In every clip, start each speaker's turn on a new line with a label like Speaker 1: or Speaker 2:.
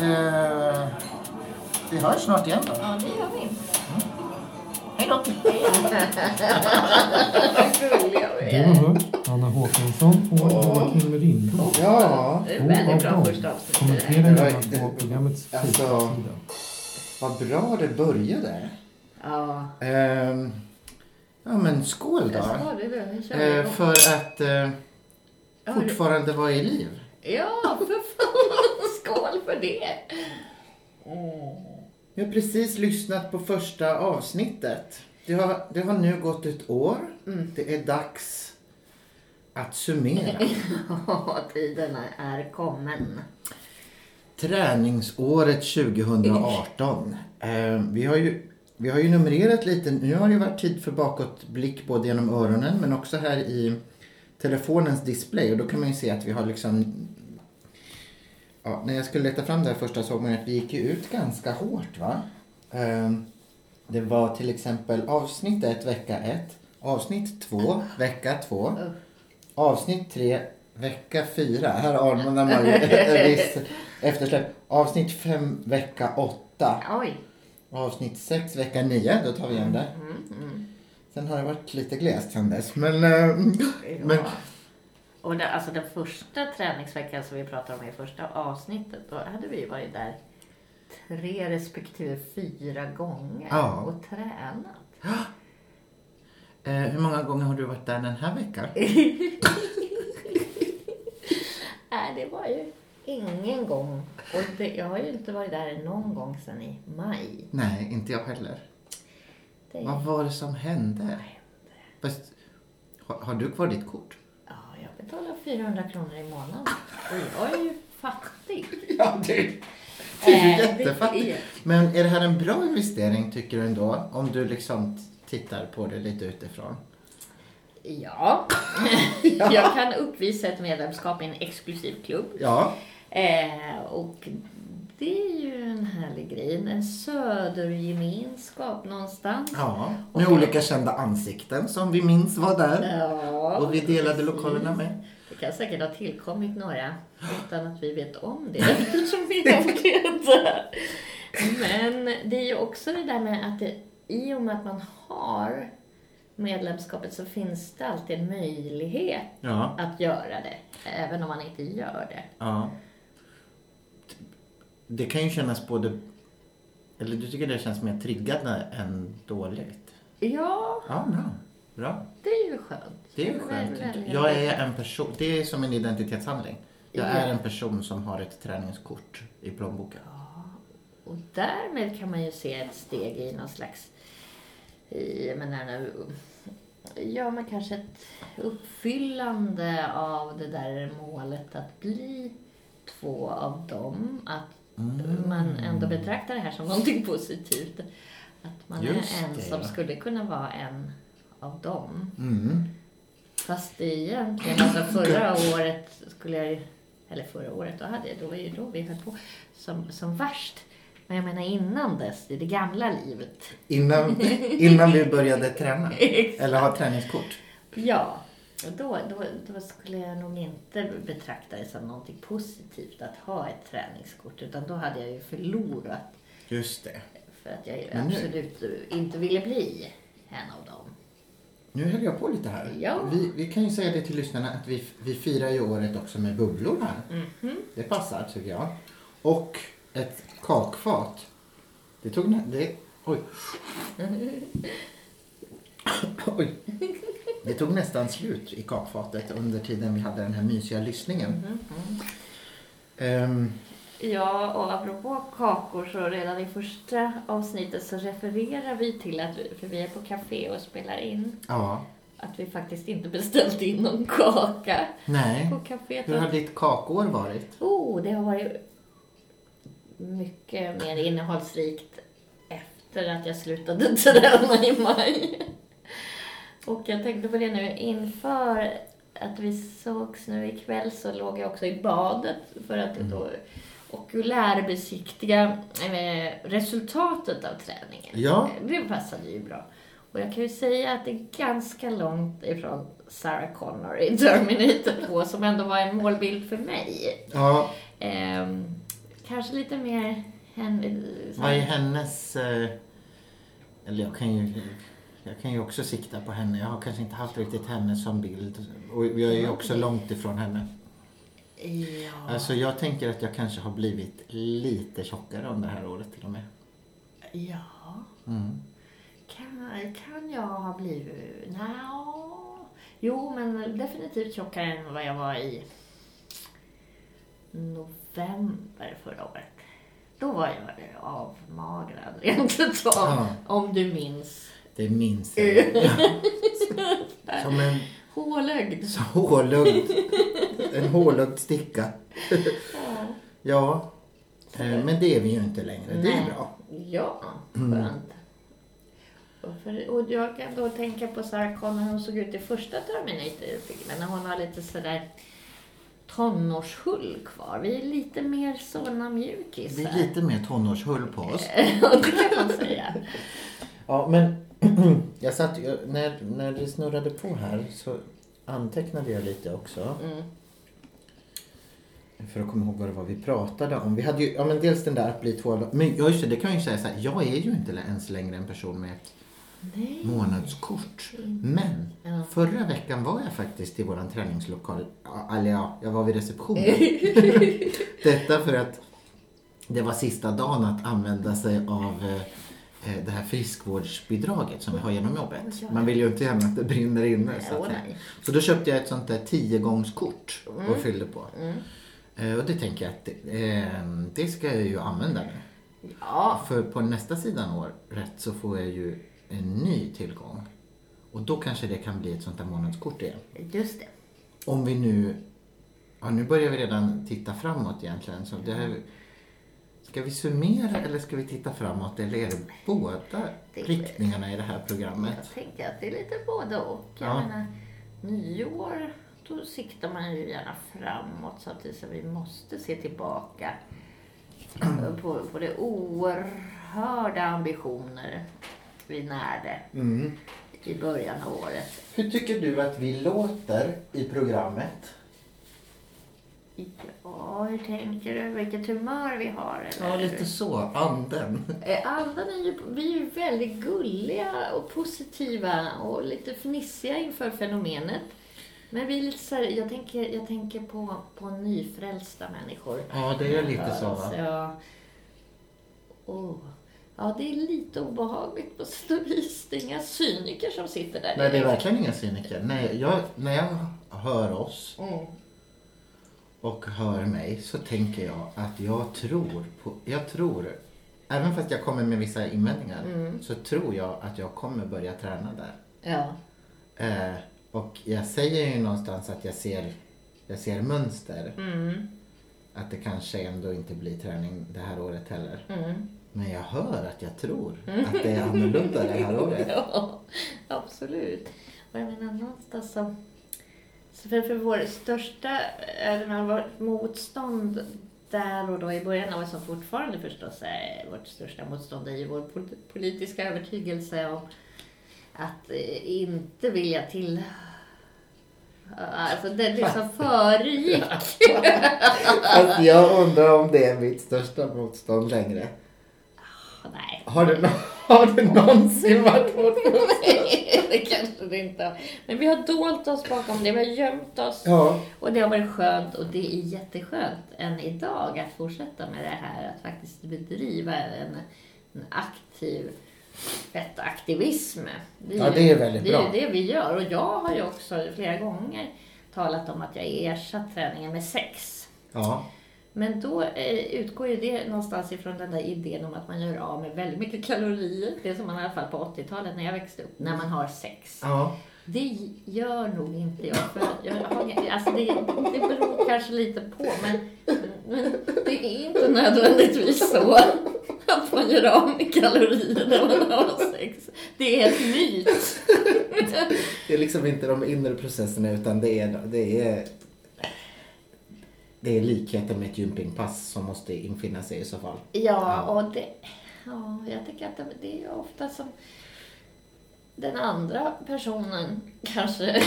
Speaker 1: Eh, vi hörs snart igen då.
Speaker 2: Ja, det gör vi.
Speaker 1: Hej då!
Speaker 2: Gulliga vi
Speaker 3: Det
Speaker 2: är.
Speaker 3: var hört Anna Håkansson och Joakim Rindblom.
Speaker 4: Ja,
Speaker 2: Det är
Speaker 3: Två
Speaker 2: väldigt
Speaker 3: av
Speaker 2: bra
Speaker 3: dem.
Speaker 2: första avsnitt. det där.
Speaker 3: Kommentera
Speaker 4: Det var
Speaker 3: gärna
Speaker 4: inte-
Speaker 3: på programmets
Speaker 4: Alltså-
Speaker 3: Facebook-sida.
Speaker 4: vad bra det började.
Speaker 2: Ja,
Speaker 4: Ehm, ja, men skål
Speaker 2: jag
Speaker 4: då.
Speaker 2: sa det. där. Vi kör
Speaker 4: Eh,
Speaker 2: igång.
Speaker 4: för att eh,
Speaker 2: Ja, det-
Speaker 4: fortfarande vara i liv.
Speaker 2: Ja, för fan. Skål för det. Mm.
Speaker 4: Jag har precis lyssnat på första avsnittet. Det har, det har nu gått ett år. Det är dags att summera.
Speaker 2: Ja, tiderna är kommen.
Speaker 4: Träningsåret 2018. Eh, vi, har ju, vi har ju numrerat lite. Nu har det ju varit tid för bakåtblick både genom öronen men också här i telefonens display. Och då kan man ju se att vi har liksom... Ja, när jag skulle leta fram det här första såg man ju att vi gick ju ut ganska hårt. va? Eh, det var till exempel avsnitt 1 vecka 1, avsnitt 2 vecka 2, avsnitt 3 vecka 4. Här anar man ju en viss eftersläpp. Avsnitt 5 vecka 8.
Speaker 2: Oj.
Speaker 4: Avsnitt 6 vecka 9, då tar vi igen det. Sen har det varit lite glest sen dess. Men, eh, men
Speaker 2: Ja. Och det, alltså den första träningsveckan som vi pratade om i första avsnittet, då hade vi ju varit där tre respektive fyra gånger
Speaker 4: Ja.
Speaker 2: och tränat.
Speaker 4: eh, hur många gånger har du varit där den här veckan?
Speaker 2: Nej, det var ju ingen gång. Och det, jag har ju inte varit där någon gång sedan i maj.
Speaker 4: Nej, inte jag heller.
Speaker 2: Det, ja,
Speaker 4: Vad var det som hände? Fast, har, har du kvar ditt kort?
Speaker 2: jag betalar 400 kronor i månaden och jag är ju fattig.
Speaker 4: Ja, det,
Speaker 2: Äh, det
Speaker 4: är
Speaker 2: är
Speaker 4: jättefattigt. Men är det här en bra investering tycker du ändå? Om du liksom t- tittar på det lite utifrån.
Speaker 2: Ja, jag kan uppvisa ett medlemskap i en exklusiv klubb.
Speaker 4: Ja.
Speaker 2: Eh, och det är ju en härlig grej. En södergemenskap någonstans.
Speaker 4: Ja, med olika kända ansikten som vi minns var där.
Speaker 2: Ja,
Speaker 4: Och vi delade
Speaker 2: precis.
Speaker 4: lokalerna med.
Speaker 2: Det kan säkert ha tillkommit några utan att vi vet om det. Eftersom vi nämnde det där. Men det är ju också det där med att det, i och med att man har medlemskapet så finns det alltid en möjlighet
Speaker 4: Ja.
Speaker 2: att göra det. Även om man inte gör det.
Speaker 4: ja. Det kan ju kännas både... Eller du tycker det känns mer triggande än dåligt?
Speaker 2: Ja,
Speaker 4: Ja, bra. Bra.
Speaker 2: det är ju skönt.
Speaker 4: Det är
Speaker 2: Väl-
Speaker 4: skönt.
Speaker 2: väl-
Speaker 4: Jag är en person. Det är som en identitetshandling. Jag
Speaker 2: Ja.
Speaker 4: är en person som har ett träningskort i plånboken.
Speaker 2: Och därmed kan man ju se ett steg i någon slags, i, jag menar, nu, ja men kanske ett uppfyllande av det där målet att bli två av dem. Att
Speaker 4: Mm.
Speaker 2: man ändå betraktar det här som någonting positivt. Att man
Speaker 4: Just
Speaker 2: är en
Speaker 4: det,
Speaker 2: som
Speaker 4: ja.
Speaker 2: skulle kunna vara en av dem.
Speaker 4: Mm.
Speaker 2: Fast det är egentligen, alltså förra året skulle jag ju, eller förra året, då hade jag, då var ju då vi höll på som, som värst. Men jag menar innan dess, i det gamla livet.
Speaker 4: Innan, innan vi började träna. Eller ha träningskort.
Speaker 2: Ja, och då, då, då skulle jag nog inte betrakta det som någonting positivt att ha ett träningskort, utan då hade jag ju förlorat
Speaker 4: Just det.
Speaker 2: för att jag ju
Speaker 4: Men nu-
Speaker 2: absolut inte ville bli en av dem.
Speaker 4: Nu höll jag på lite här.
Speaker 2: Ja.
Speaker 4: Vi, vi kan ju säga det till lyssnarna att vi, vi firar ju året också med bubblor här. Det passar tycker jag. Och ett kakfat. Det tog... nä- Det, oj. oj. Det tog nästan slut i kakfatet under tiden vi hade den här mysiga lyssningen. Ehm,
Speaker 2: Ja, och apropå kakor så redan i första avsnittet så refererar vi till att, vi- för vi är på café och spelar in,
Speaker 4: ja.
Speaker 2: att vi faktiskt inte beställt in någon kaka
Speaker 4: Nej.
Speaker 2: på caféet.
Speaker 4: Hur har ditt kakår varit?
Speaker 2: Oh, det har varit mycket mer innehållsrikt efter att jag slutade träna i maj. Och jag tänkte på det nu inför att vi sågs nu ikväll så låg jag också i badet för att då okulärbesiktiga eh, resultatet av träningen.
Speaker 4: Ja.
Speaker 2: Det passade ju bra. Och jag kan ju säga att det är ganska långt ifrån Sarah Connor i Terminator 2 som ändå var en målbild för mig.
Speaker 4: Ja.
Speaker 2: Ehm, Kanske lite mer... En, så
Speaker 4: Vad är
Speaker 2: här,
Speaker 4: hennes... eh, Eller jag kan ju... Jag kan ju också sikta på henne. Jag har kanske inte haft riktigt henne som bild. Och jag är ju också långt ifrån henne.
Speaker 2: ja,
Speaker 4: Alltså jag tänker att jag kanske har blivit lite tjockare om det här året till och med.
Speaker 2: ja.
Speaker 4: Mm.
Speaker 2: Kan, kan jag ha blivit... No. Jo, men definitivt tjockare än vad jag var i november förra året. Då var jag avmagrad rent utav,
Speaker 4: Ja.
Speaker 2: om du minns.
Speaker 4: Det minns jag. Ja. Som en
Speaker 2: Hålögd.
Speaker 4: så hålögd... En hålögd sticka. Ja. Eh, Men det är vi ju inte längre. Det är
Speaker 2: Nej.
Speaker 4: bra. Mm.
Speaker 2: Ja, skönt. Mm. Och, för, och jag kan då tänka på Sarah Connor, hon såg ut i första Terminator-filmen, när hon har lite sådär tonårshull kvar. Vi är lite mer såna mjukisar.
Speaker 4: Det är lite mer tonårshull på oss.
Speaker 2: det kan man säga.
Speaker 4: Ja, men jag satt, jag, när, när det snurrade på här så antecknade jag lite också.
Speaker 2: Mm.
Speaker 4: För att komma ihåg vad det var vi pratade om. Vi hade ju, ja men dels den där att bli två Men ja, just det, det kan jag ju säga så här. Jag är ju inte ens längre en person med ett
Speaker 2: Nej.
Speaker 4: månadskort. Men
Speaker 2: Mm. Ja.
Speaker 4: förra veckan var jag faktiskt i våran träningslokal. Ja, Eller ja, jag var vid receptionen. Detta för att det var sista dagen att använda sig av eh, eh, det här friskvårdsbidraget som vi har genom jobbet. Man vill ju inte gärna att det brinner inne. Så, att,
Speaker 2: Åh,
Speaker 4: säga.
Speaker 2: nej. Mm.
Speaker 4: så då köpte jag ett sånt där 10-gångskort och fyllde på. Eh, Och det tänker jag att eh, det ska jag ju använda nu.
Speaker 2: Ja,
Speaker 4: För på nästa sidan år rätt så får jag ju en ny tillgång. Och då kanske det kan bli ett sånt där månadskort igen.
Speaker 2: just det.
Speaker 4: Om vi nu... Ja, nu börjar vi redan titta framåt egentligen. Så det här, ska vi summera eller ska vi titta framåt? Eller är det båda
Speaker 2: Det-
Speaker 4: riktningarna i det här programmet?
Speaker 2: Jag tänker att det är lite både och. Jag
Speaker 4: Ja.
Speaker 2: menar, nyår, då siktar man ju gärna framåt samtidigt som vi måste se tillbaka på, på det oerhörda ambitioner vi närde
Speaker 4: Mm.
Speaker 2: i början av året.
Speaker 4: Hur tycker du att vi låter i programmet?
Speaker 2: Ja, hur tänker du? Vilket humör vi har? Eller?
Speaker 4: Ja, lite så. Anden.
Speaker 2: Eh, Andan är ju, vi är ju väldigt gulliga och positiva och lite fnissiga inför fenomenet. Men vi är lite så här, jag tänker, jag tänker på, på nyfrälsta människor.
Speaker 4: Ja, det är lite så.
Speaker 2: Alltså,
Speaker 4: Va?
Speaker 2: ja. Åh. Ja, det är lite obehagligt på sätt och vis. Det är inga cyniker som sitter där.
Speaker 4: Nej, det är verkligen inga cyniker. Nej, jag, när jag hör oss
Speaker 2: Mm.
Speaker 4: och hör mig så tänker jag att jag tror på, jag tror, även fast jag kommer med vissa invändningar, så tror jag att jag kommer börja träna där.
Speaker 2: Ja.
Speaker 4: Eh, och jag säger ju någonstans att jag ser, jag ser mönster.
Speaker 2: Mm.
Speaker 4: Att det kanske ändå inte blir träning det här året heller.
Speaker 2: Mm.
Speaker 4: Men jag hör att jag tror att det är annorlunda det här året.
Speaker 2: Ja, absolut. Och jag menar någonstans så... så för, för vår största eller man, vårt motstånd där och då i början av vad som fortfarande förstås är vårt största motstånd är ju vår pol- politiska övertygelse om att eh, inte vilja till... Alltså det liksom föregick.
Speaker 4: Fast jag undrar om det är mitt största motstånd längre.
Speaker 2: Nej,
Speaker 4: Har det, nå- har det någonsin varit vårt motstånd?
Speaker 2: det kanske det inte har. Men vi har dolt oss bakom det, vi har gömt oss.
Speaker 4: Ja.
Speaker 2: Och det har varit skönt och det är jätteskönt än idag att fortsätta med det här. Att faktiskt bedriva en, en aktiv ett aktivism. Det
Speaker 4: Ja, det är väldigt
Speaker 2: det
Speaker 4: bra.
Speaker 2: Det är ju det vi gör. Och jag har ju också flera gånger talat om att jag ersatt träningen med sex.
Speaker 4: Ja.
Speaker 2: Men då eh, utgår ju det någonstans ifrån den där idén om att man gör av med väldigt mycket kalorier. Det som man i alla fall på 80-talet när jag växte upp, när man har sex.
Speaker 4: ja.
Speaker 2: Det gör nog inte jag. För jag har, alltså det, det beror kanske lite på, men, men det är inte nödvändigtvis så att man gör av med kalorier när man har sex. Det är ett myt.
Speaker 4: Det är liksom inte de inre processerna utan det är, det är, det är likheten med ett gympingpass som måste infinna sig i så fall.
Speaker 2: Ja, och det, ja, jag tycker att det, det är ju ofta som den andra personen kanske,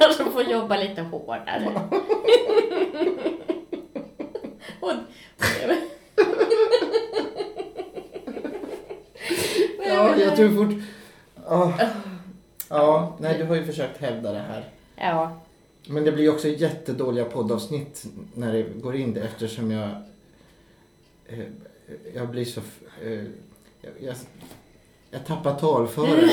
Speaker 2: kanske får jobba lite hårdare. och,
Speaker 4: Ja, jag tror fort... Ja. ja, nej du har ju försökt hävda det här.
Speaker 2: Ja,
Speaker 4: Men det blir ju också jättedåliga poddavsnitt när det går in det eftersom jag... eh, Jag blir så... f- eh, Jag, jag, jag tappar talföring.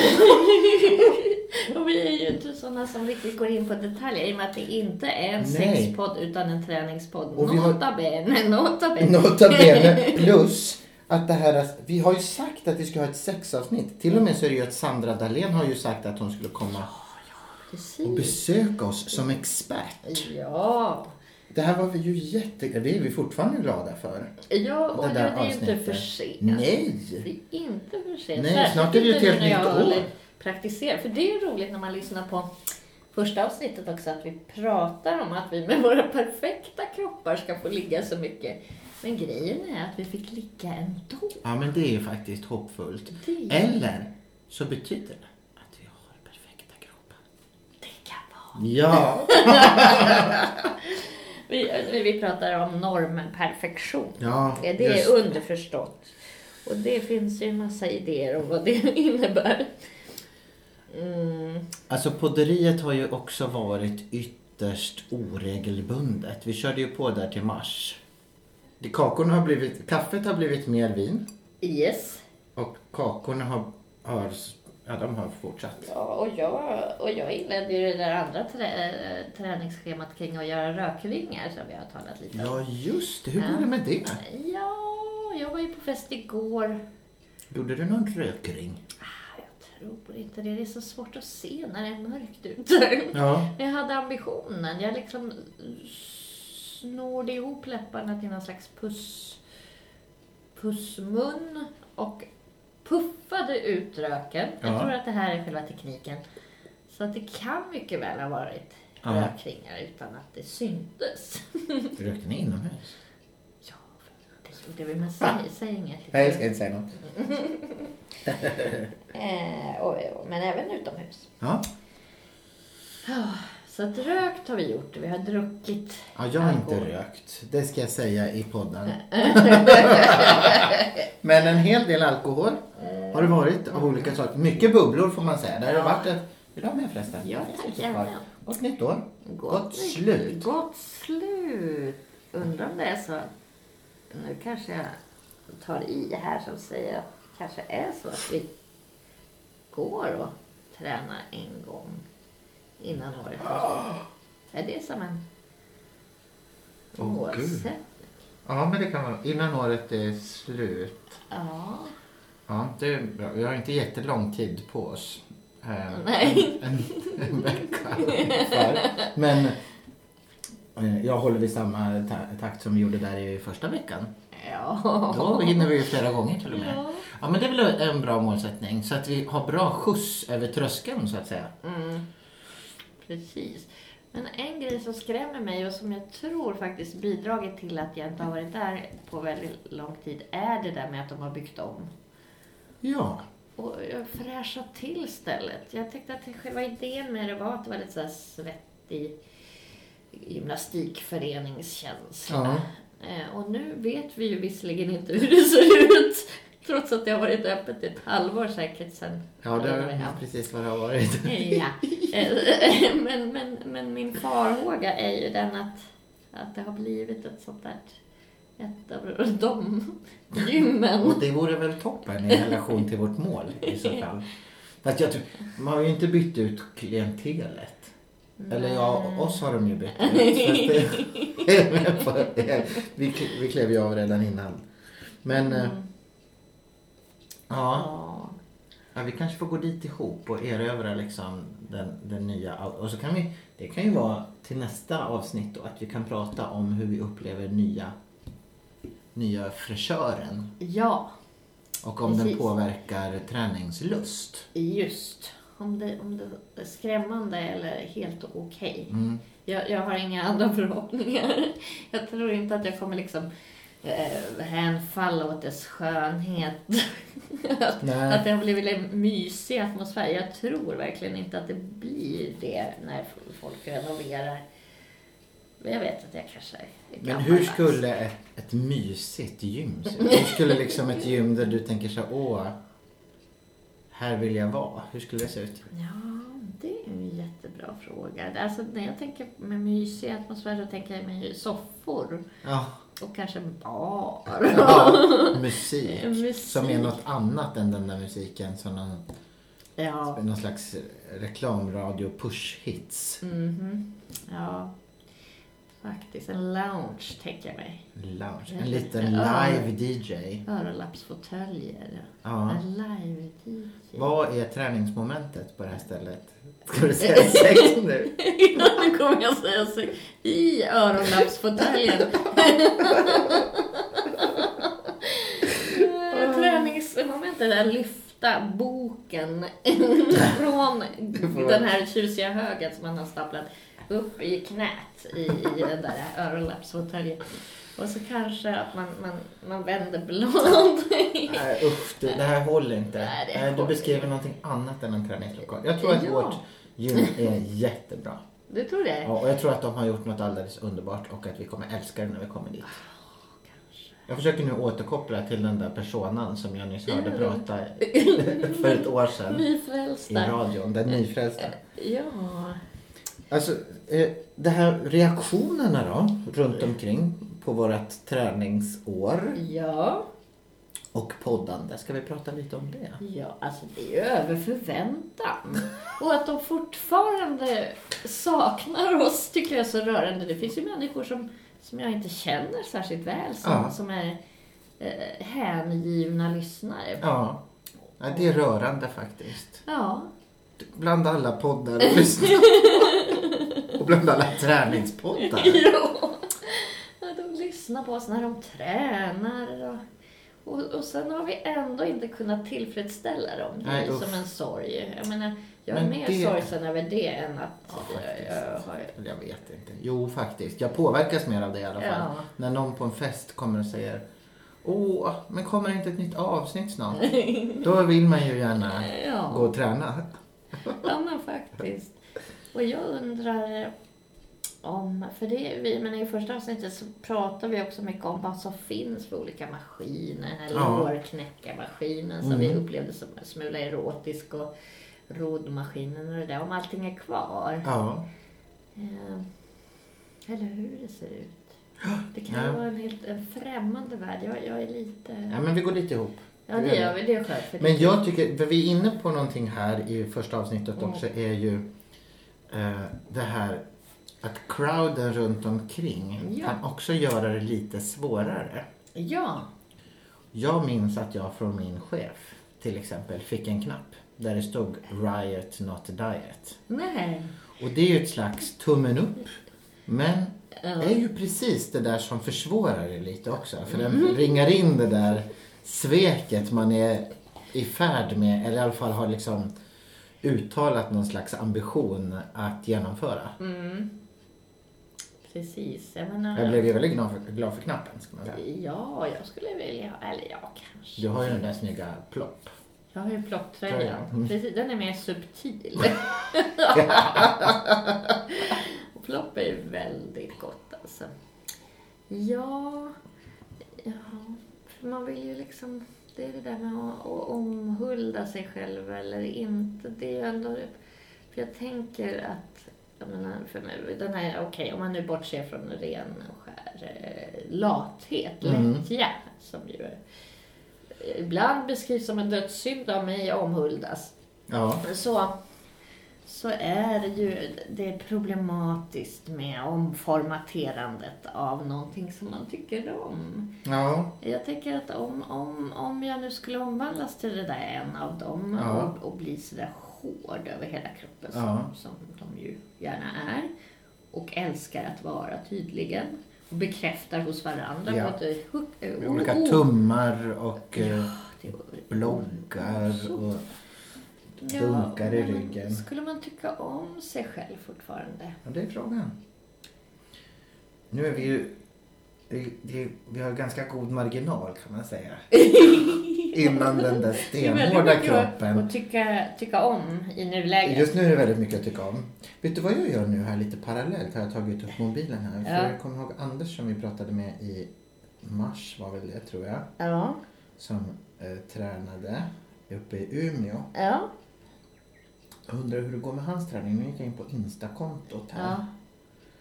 Speaker 2: och vi är ju inte sådana som riktigt går in på detaljer i och med att det inte är en
Speaker 4: Nej.
Speaker 2: sexpodd utan en träningspodd.
Speaker 4: Och vi har-
Speaker 2: Nota bene, nota bene.
Speaker 4: Nota bene plus att det här, vi har ju sagt att vi ska ha ett sexavsnitt. Till och med så är det ju att Sandra Dahlén har ju sagt att hon skulle komma och
Speaker 2: Precis.
Speaker 4: besöka oss som expert.
Speaker 2: Ja,
Speaker 4: Det här var vi ju jätte, det är vi fortfarande glada för.
Speaker 2: ja och
Speaker 4: Det
Speaker 2: det,
Speaker 4: där
Speaker 2: är ju inte
Speaker 4: avsnittet.
Speaker 2: för sent. Alltså, Det
Speaker 4: Nej!
Speaker 2: är inte för sent.
Speaker 4: Nej,
Speaker 2: Särskilt
Speaker 4: snart är det ju ett
Speaker 2: inte
Speaker 4: helt
Speaker 2: nu när
Speaker 4: nytt
Speaker 2: jag
Speaker 4: år.
Speaker 2: håller- Praktiserar. För det är ju roligt när man lyssnar på första avsnittet också att vi pratar om att vi med våra perfekta kroppar ska få ligga så mycket. Men grejen är att vi fick ligga ändå.
Speaker 4: Ja men det är ju faktiskt hoppfullt.
Speaker 2: Det-
Speaker 4: Eller så betyder det att vi har perfekta kroppar.
Speaker 2: Det kan vara.
Speaker 4: Ja!
Speaker 2: Vi, vi pratar om normen perfektion.
Speaker 4: Ja,
Speaker 2: Det är
Speaker 4: just-
Speaker 2: underförstått. Och det finns ju en massa idéer om vad det innebär. Mm,
Speaker 4: Alltså podderiet har ju också varit ytterst oregelbundet. Vi körde ju på där till mars. Det- Kakorna har blivit, kaffet har blivit mer vin
Speaker 2: yes.
Speaker 4: och kakorna har, har ja de har fortsatt.
Speaker 2: Ja, och jag, och jag inledde ju det där andra trä, eh, träningsschemat kring att göra rökringar som vi har talat lite om.
Speaker 4: Ja just det, hur går det med det?
Speaker 2: Ja, jag var ju på fest igår.
Speaker 4: Gjorde du någon rökring?
Speaker 2: Ah, Jag tror inte det. Det är så svårt att se när det är mörkt ute.
Speaker 4: Ja.
Speaker 2: Jag hade ambitionen. Jag liksom snorde ihop läpparna till någon slags puss, pussmun och puffade ut röken.
Speaker 4: Ja.
Speaker 2: Jag tror att det här är själva tekniken. Så att det kan mycket väl ha varit
Speaker 4: Ja.
Speaker 2: rökringar utan att det syntes.
Speaker 4: Rökte ni inomhus?
Speaker 2: ja, det gjorde vi, men säg, säg inget.
Speaker 4: Ah. Nej, jag ska inte säga något.
Speaker 2: Eh, och, och, men även utomhus.
Speaker 4: Ja,
Speaker 2: Så att rökt har vi gjort. Vi har druckit
Speaker 4: ja jag har inte
Speaker 2: alkohol.
Speaker 4: rökt. Det ska jag säga i podden. Men en hel del alkohol har det varit av olika saker. Mycket bubblor får man säga. Det har det varit ett... Vill du ha mer förresten?
Speaker 2: Ja, tack,
Speaker 4: Jag har ett
Speaker 2: gärna.
Speaker 4: Gott nytt år. Gott slut.
Speaker 2: Gott slut. Undrar om det är så. Nu kanske jag tar i här som säger att det kanske är så att vi går och tränar en gång innan året är slut. Är det som en
Speaker 4: Åh,
Speaker 2: målsättning?
Speaker 4: Ja, men det kan vara. Innan året är slut.
Speaker 2: Ja.
Speaker 4: Ja, det är bra. Vi har inte jättelång tid på oss. Eh,
Speaker 2: Nej.
Speaker 4: En, en, en vecka ungefär. Men eh, jag håller vid samma ta- takt som vi gjorde där i första veckan.
Speaker 2: Ja.
Speaker 4: Då hinner vi ju flera gånger till och med.
Speaker 2: Ja.
Speaker 4: Ja, men det är väl en bra målsättning. Så att vi har bra skjuts över tröskeln så att säga.
Speaker 2: Mm. Precis. Men en grej som skrämmer mig och som jag tror faktiskt bidragit till att jag inte har varit där på väldigt lång tid är det där med att de har byggt om.
Speaker 4: Ja.
Speaker 2: Och jag fräschat till stället. Jag tyckte att själva idén med det var att det var lite så här svettig gymnastikföreningskänsla.
Speaker 4: Ja.
Speaker 2: Eh, Och nu vet vi ju visserligen inte hur det ser ut. Trots att det har varit öppet i ett halvår säkert sedan.
Speaker 4: Ja, det
Speaker 2: Ja.
Speaker 4: är precis vad det har varit.
Speaker 2: Ja. Eh, Men, men, men min farhåga är ju den att, att det har blivit ett sånt där ett av de gymmen.
Speaker 4: Mm. Och det vore väl toppen i relation till vårt mål i så fall. Fast jag tror, man har ju inte bytt ut klientelet. Eller ja, oss har de ju bytt ut. Så att det- jag är med på det. vi, kl- vi klev ju av redan innan. Men eh, ja,
Speaker 2: Ja.
Speaker 4: ja, vi kanske får gå dit ihop och erövra liksom den, den nya. Och så kan vi, det kan ju vara till nästa avsnitt då, att vi kan prata om hur vi upplever nya, nya fräschören.
Speaker 2: ja,
Speaker 4: Och om den
Speaker 2: Precis.
Speaker 4: påverkar träningslust.
Speaker 2: just. Om det, om det är skrämmande eller helt okej.
Speaker 4: Mm.
Speaker 2: Jag, jag har inga andra förhoppningar. Jag tror inte att jag kommer liksom eh, hänfalla åt dess skönhet. att,
Speaker 4: Nej.
Speaker 2: att det har blivit en mysig atmosfär. Jag tror verkligen inte att det blir det när f- folk renoverar. Men jag vet att jag kanske är
Speaker 4: Men
Speaker 2: gammaldags.
Speaker 4: hur skulle ett, ett mysigt gym se ut? Hur skulle liksom ett gym där du tänker så här, åh, här vill jag vara? Hur skulle det se ut?
Speaker 2: Ja, det är en jättebra fråga. Alltså, när jag tänker med mysig atmosfär så tänker jag med soffor
Speaker 4: Ja,
Speaker 2: och kanske en bar.
Speaker 4: musik,
Speaker 2: Musik.
Speaker 4: som är något annat än den där musiken som någon,
Speaker 2: Ja.
Speaker 4: någon slags reklamradio push-hits.
Speaker 2: mhm. ja, faktiskt. En lounge tänker jag mig.
Speaker 4: Lounge. En liten
Speaker 2: Ja.
Speaker 4: live-DJ.
Speaker 2: Öronlappsfåtöljer.
Speaker 4: Ja.
Speaker 2: En live-DJ.
Speaker 4: Vad är träningsmomentet på det här stället? Ska du säga sex nu?
Speaker 2: nu kommer jag säga så. I öronlappsfåtöljen. Eh, Träningsmomentet är att lyfta boken från
Speaker 4: får
Speaker 2: den här tjusiga högen som man har staplat upp i knät i, i den där öronlappsfåtöljen. Och så kanske att man, man, man vänder blad.
Speaker 4: Nej usch, det, det här håller inte.
Speaker 2: Nej, det
Speaker 4: Nej, du
Speaker 2: håller
Speaker 4: beskriver någonting annat än en träningslokal. Jag tror att
Speaker 2: Ja.
Speaker 4: vårt gym är jättebra.
Speaker 2: Du tror det?
Speaker 4: Ja, och jag tror att de har gjort något alldeles underbart och att vi kommer älska det när vi kommer dit. Jag försöker nu återkoppla till den där personan som jag nyss hörde prata för ett år sedan i
Speaker 2: Nyfrälsta.
Speaker 4: radion, den
Speaker 2: Eh,
Speaker 4: nyfrälsta.
Speaker 2: Ja.
Speaker 4: Alltså, eh, det här reaktionerna då, runt omkring på vårt träningsår
Speaker 2: Ja.
Speaker 4: och poddande. Ska vi prata lite om det?
Speaker 2: Ja, alltså det är ju över förväntan. Och att de fortfarande saknar oss tycker jag är så rörande. Det finns ju människor som, som jag inte känner särskilt väl som,
Speaker 4: Ja.
Speaker 2: som är eh, hängivna lyssnare.
Speaker 4: Ja. ja, det är rörande faktiskt.
Speaker 2: Ja,
Speaker 4: Bland alla poddar och lyssnar Och bland alla träningspoddar.
Speaker 2: Ja. De lyssnar på oss när de tränar. Och, och, och sen har vi ändå inte kunnat tillfredsställa dem. Det är
Speaker 4: Nej,
Speaker 2: ju
Speaker 4: uff.
Speaker 2: som en sorg. Jag menar, jag är
Speaker 4: Men
Speaker 2: mer
Speaker 4: det-
Speaker 2: sorgsen över det än att jag,
Speaker 4: faktiskt.
Speaker 2: jag har...
Speaker 4: Jag vet inte. Jo, faktiskt. Jag påverkas mer av det i alla fall.
Speaker 2: Ja.
Speaker 4: När någon på en fest kommer och säger Åh, men kommer det inte ett nytt avsnitt snart? Då vill man ju gärna
Speaker 2: Ja.
Speaker 4: gå och träna.
Speaker 2: Ja, men faktiskt. Och jag undrar om, för det, är vi, men i första avsnittet så pratar vi också mycket om vad som finns för olika maskiner. Den här
Speaker 4: Ja.
Speaker 2: lårknäckarmaskinen som vi upplevde som en smula erotisk och roddmaskinen och det där, om allting är kvar.
Speaker 4: Ja.
Speaker 2: Eh, Eller hur det ser ut. Det kan ju
Speaker 4: Ja.
Speaker 2: vara en helt en främmande värld. Jag, jag är lite...
Speaker 4: ja, men vi går lite ihop.
Speaker 2: Ja, det gör vi. Det är skönt. För det.
Speaker 4: Men jag tycker, för vi är inne på någonting här i första avsnittet också, är ju eh, det här att crowden runt omkring
Speaker 2: Ja.
Speaker 4: kan också göra det lite svårare.
Speaker 2: Ja.
Speaker 4: Jag minns att jag från min chef till exempel fick en knapp där det stod Riot Not Diet.
Speaker 2: Nej.
Speaker 4: Och det är ju ett slags tummen upp. Men
Speaker 2: Ja.
Speaker 4: det är ju precis det där som försvårar det lite också. För den ringar in det där sveket man är i färd med eller i alla fall har liksom uttalat någon slags ambition att genomföra.
Speaker 2: Mm. Precis. Jag menar,
Speaker 4: Jag blev ju väldigt glad för, glad för knappen ska man säga.
Speaker 2: Ja, jag skulle vilja... Eller ja, kanske.
Speaker 4: Du har ju den där snygga plopp.
Speaker 2: Jag har ju
Speaker 4: Tröjan.
Speaker 2: plocktröjan.
Speaker 4: Mm.
Speaker 2: Precis, den är mer subtil. Och plopp är ju väldigt gott alltså. Ja, ja, för man vill ju liksom... Det är det där med att, att omhulda sig själv eller inte. Det är ju ändå... För jag tänker att... Jag menar, för nu, den här, okej, om man nu bortser från ren och skär eh, lathet,
Speaker 4: Mm.
Speaker 2: lättja, som ju är ibland beskrivs som en dödssynd av mig omhuldas.
Speaker 4: Ja.
Speaker 2: Så, så är det ju det är problematiskt med omformaterandet av någonting som man tycker om.
Speaker 4: Ja.
Speaker 2: Jag tänker att om, om, om jag nu skulle omvandlas till det där en av dem
Speaker 4: Ja.
Speaker 2: och, och bli sådär hård över hela kroppen
Speaker 4: Ja.
Speaker 2: som, som de ju gärna är och älskar att vara tydligen och bekräftar hos varandra
Speaker 4: Ja.
Speaker 2: på att det är hu-
Speaker 4: Olika
Speaker 2: o-
Speaker 4: tummar och eh,
Speaker 2: det är-
Speaker 4: bloggar och dunkar i
Speaker 2: men
Speaker 4: ryggen.
Speaker 2: Skulle man tycka om sig själv fortfarande?
Speaker 4: Ja, det är frågan. Nu är vi ju... det- det- Vi har ganska god marginal kan man säga. Innan den där stenhårda kroppen.
Speaker 2: Och tycka, tycka om i nuläget.
Speaker 4: Just nu är det väldigt mycket att tycka om. Vet du vad jag gör nu här lite parallellt? Har jag tagit upp mobilen här. För
Speaker 2: Ja.
Speaker 4: jag kommer ihåg Anders som vi pratade med i mars var väl det tror jag.
Speaker 2: Ja.
Speaker 4: Som eh, tränade uppe i Umeå.
Speaker 2: Ja,
Speaker 4: Jag undrar hur det går med hans träning. Nu gick jag in på Insta-kontot här.
Speaker 2: ja.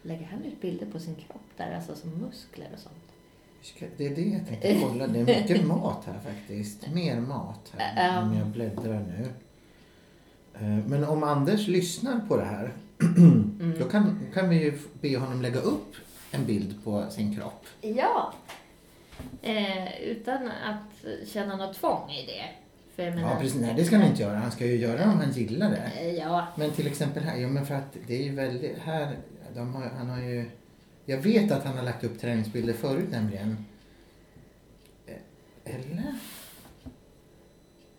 Speaker 2: Lägger han ut bilder på sin kropp där, alltså som muskler och sånt?
Speaker 4: Ska- Det är det jag tänkte kolla. Det är mycket mat här faktiskt. Mer mat här.
Speaker 2: Ja.
Speaker 4: Om jag bläddrar nu. Eh, Men om Anders lyssnar på det här då
Speaker 2: Mm.
Speaker 4: kan, kan vi ju be honom lägga upp en bild på sin kropp.
Speaker 2: Ja. Eh, utan att känna något tvång i det. För jag menar,
Speaker 4: Ja, precis. Nej, det ska han inte göra. Han ska ju göra det om han gillar det.
Speaker 2: Eh, Mm. Ja,
Speaker 4: Men till exempel här, ja men för att det är ju väldigt, här, de har, han har ju, jag vet att han har lagt upp träningsbilder förut nämligen. Eh, Eller?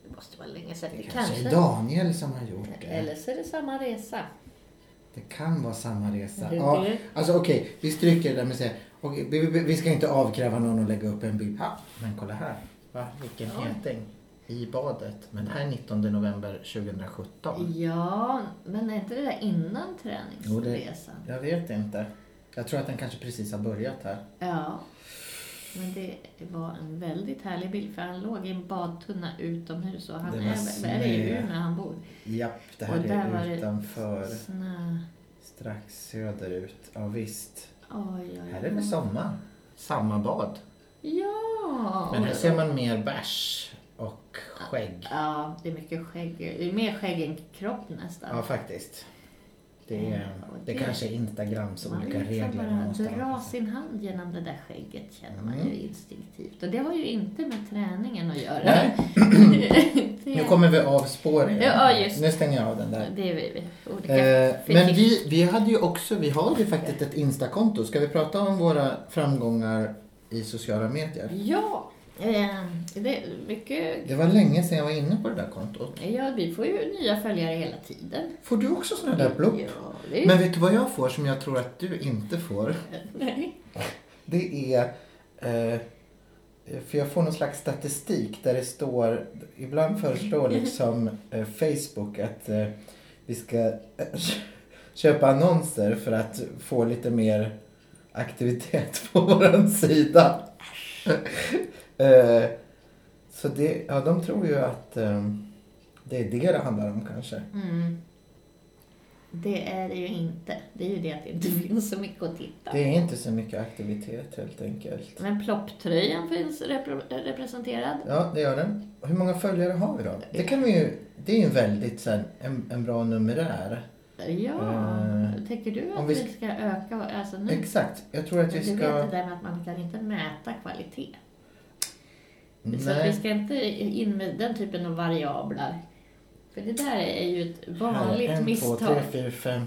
Speaker 2: det måste vara länge sedan.
Speaker 4: Det
Speaker 2: Det
Speaker 4: kanske
Speaker 2: kanske.
Speaker 4: är Daniel som har gjort det.
Speaker 2: Eller så är det samma resa.
Speaker 4: Det kan vara samma resa.
Speaker 2: Det-
Speaker 4: Ja,
Speaker 2: det-
Speaker 4: alltså okej, vi stryker det där med att säga, okej, vi, vi, vi ska inte avkräva någon att lägga upp en bild. Ja, men kolla här. Va? Vilken
Speaker 2: Ja.
Speaker 4: äting i badet. Men det här är 19 november 2017.
Speaker 2: Ja, men är inte det där innan
Speaker 4: Jo, det-
Speaker 2: träningsresan?
Speaker 4: Jag vet inte. Jag tror att den kanske precis har börjat här.
Speaker 2: Ja. Men det var en väldigt härlig bild för han låg i en badtunna utomhus och han
Speaker 4: Det
Speaker 2: är
Speaker 4: var
Speaker 2: väl är det i
Speaker 4: snö.
Speaker 2: Umeå han bor.
Speaker 4: Japp, det
Speaker 2: Och där
Speaker 4: här
Speaker 2: var
Speaker 4: är
Speaker 2: det-
Speaker 4: utanför.
Speaker 2: Snö.
Speaker 4: Strax söderut. Ja, visst.
Speaker 2: Oj,
Speaker 4: Här
Speaker 2: oj,
Speaker 4: är det
Speaker 2: oj.
Speaker 4: sommar. Samma bad.
Speaker 2: Ja!
Speaker 4: Men här ser man mer bärs och skägg.
Speaker 2: Ja, det är mycket skägg. Det är mer skägg än kropp nästan. Mm.
Speaker 4: Ja, faktiskt. Det, är,
Speaker 2: Ja, och
Speaker 4: det
Speaker 2: det-
Speaker 4: kanske är Instagrams
Speaker 2: Man
Speaker 4: olika
Speaker 2: vill liksom
Speaker 4: regler.
Speaker 2: bara
Speaker 4: någonstans.
Speaker 2: dra sin hand genom det där skägget känner man
Speaker 4: Mm.
Speaker 2: ju instinktivt. Och det har ju inte med träningen att göra.
Speaker 4: Nej, nu
Speaker 2: det,
Speaker 4: kommer vi av spåren.
Speaker 2: Ja, just.
Speaker 4: Nu stänger jag av den där.
Speaker 2: det är vi, vi- olika
Speaker 4: Eh, men
Speaker 2: fetisch.
Speaker 4: vi, vi hade ju också, vi har ju faktiskt ett Instakonto. Ska vi prata om våra framgångar i sociala medier?
Speaker 2: Ja, eh, det är mycket...
Speaker 4: Det var länge sedan jag var inne på det där kontot.
Speaker 2: Ja, vi får ju nya följare hela tiden.
Speaker 4: Får du också sådana där plopp?
Speaker 2: Ja, det är...
Speaker 4: Men vet du vad jag får som jag tror att du inte får?
Speaker 2: Nej.
Speaker 4: Det är... Eh, för jag får någon slags statistik där det står... Ibland föreslår liksom eh, Facebook att eh, vi ska eh, köpa annonser för att få lite mer aktivitet på våran sida. eh, så det, ja, de tror ju att eh, det är det det handlar om kanske.
Speaker 2: Mm. Det är det ju inte. Det är ju det att det inte finns så mycket att titta
Speaker 4: Det är inte så mycket aktivitet helt enkelt.
Speaker 2: Men plopptröjan finns repre- representerad.
Speaker 4: Ja, det gör den. Hur många följare har vi då? Det kan vi ju... Det är ju en väldigt så här, en, en bra numerär.
Speaker 2: Ja,
Speaker 4: Eh,
Speaker 2: tänker du
Speaker 4: om
Speaker 2: att
Speaker 4: vi
Speaker 2: vi
Speaker 4: sk-
Speaker 2: ska öka? och- Alltså nu,
Speaker 4: Exakt. Jag tror att
Speaker 2: du
Speaker 4: vi
Speaker 2: vet det
Speaker 4: ska...
Speaker 2: där med att man kan inte mäta kvalitet. Så att vi
Speaker 4: Nej.
Speaker 2: ska inte in med den typen av variabler. För det där är ju ett
Speaker 4: Här,
Speaker 2: vanligt
Speaker 4: en, två,
Speaker 2: misstag.
Speaker 4: tre, fyra, fem.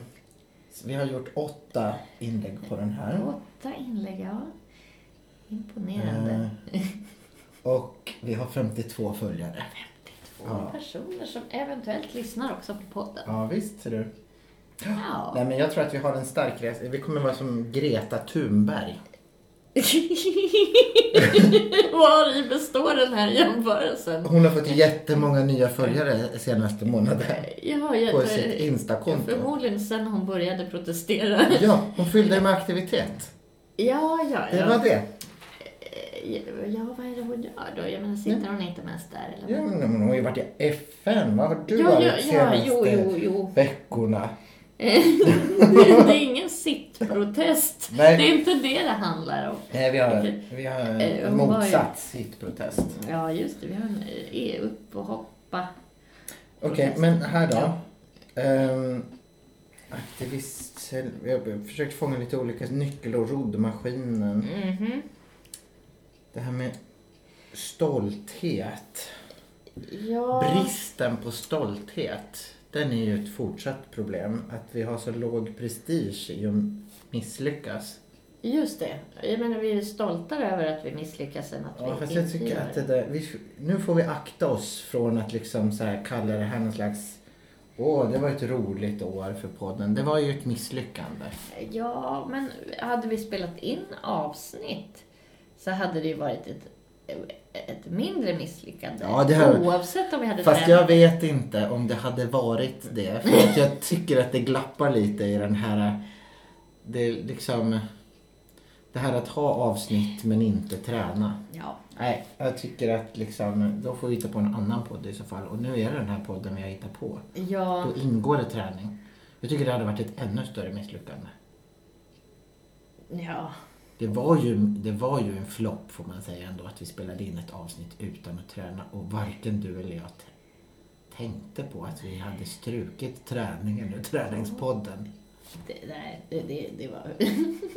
Speaker 4: Så vi har gjort åtta inlägg på den här.
Speaker 2: Åtta inlägg, ja. Imponerande.
Speaker 4: Eh, och vi har 52 följare.
Speaker 2: Två
Speaker 4: ja.
Speaker 2: personer som eventuellt lyssnar också på podden.
Speaker 4: Ja, visst ser du.
Speaker 2: Ja.
Speaker 4: Nej, men jag tror att vi har en stark resa. Vi kommer vara som Greta Thunberg.
Speaker 2: Var i består den här jämförelsen?
Speaker 4: Hon har fått jättemånga nya följare senaste månaden.
Speaker 2: Ja, jag,
Speaker 4: På sitt Insta-konto.
Speaker 2: förmodligen sen hon började protestera.
Speaker 4: Ja, hon fyllde med aktivitet.
Speaker 2: Ja, ja,
Speaker 4: Det
Speaker 2: ja. Eh,
Speaker 4: var det.
Speaker 2: Ja, vad är det hon gör då? Jag menar, sitter hon inte mest där? Eller?
Speaker 4: Ja, men hon har ju varit i FN. Vad har du
Speaker 2: ja,
Speaker 4: varit
Speaker 2: ja, ja,
Speaker 4: senaste
Speaker 2: jo, jo, jo.
Speaker 4: veckorna?
Speaker 2: Det, det är ingen sittprotest.
Speaker 4: Nej.
Speaker 2: Det är inte det det handlar om.
Speaker 4: Nej, vi har,
Speaker 2: Okej.
Speaker 4: vi har en
Speaker 2: Eh, hon var ju-
Speaker 4: motsatt sittprotest.
Speaker 2: Ja, just det. Vi har en eh, e upp och hoppa.
Speaker 4: Okej, men här då. Ehm, aktivist... Jag har försökt fånga lite olika nyckelord. Roddmaskinen.
Speaker 2: Mhm.
Speaker 4: Det här med stolthet.
Speaker 2: Ja.
Speaker 4: Bristen på stolthet. Den är ju ett fortsatt problem. Att vi har så låg prestige i att misslyckas.
Speaker 2: Just det. Jag menar, vi är stoltare över att vi misslyckas än att
Speaker 4: Ja,
Speaker 2: vi
Speaker 4: fast jag
Speaker 2: inte
Speaker 4: tycker
Speaker 2: gör
Speaker 4: att det där, vi, nu får vi akta oss från att liksom så här kalla det här någon slags Åh, det var ett roligt år för podden. Det var ju ett misslyckande.
Speaker 2: Ja, men hade vi spelat in avsnitt så hade det ju varit ett, ett mindre misslyckande.
Speaker 4: Ja, det hade-
Speaker 2: Oavsett om vi hade
Speaker 4: Fast
Speaker 2: tränat.
Speaker 4: jag vet inte om det hade varit det. För att jag tycker att det glappar lite i den här... Det är liksom... Det här att ha avsnitt men inte träna.
Speaker 2: Ja.
Speaker 4: Nej, jag tycker att liksom, då får vi hitta på en annan podd i så fall. Och nu är det den här podden vi har hittat på.
Speaker 2: Ja,
Speaker 4: Då ingår det träning. Jag tycker det hade varit ett ännu större misslyckande.
Speaker 2: ja.
Speaker 4: Det var ju, det var ju en flopp får man säga ändå att vi spelade in ett avsnitt utan att träna och varken du eller jag t- tänkte på att vi hade strukit träningen ur träningspodden.
Speaker 2: Det, nej, det, det, det, var,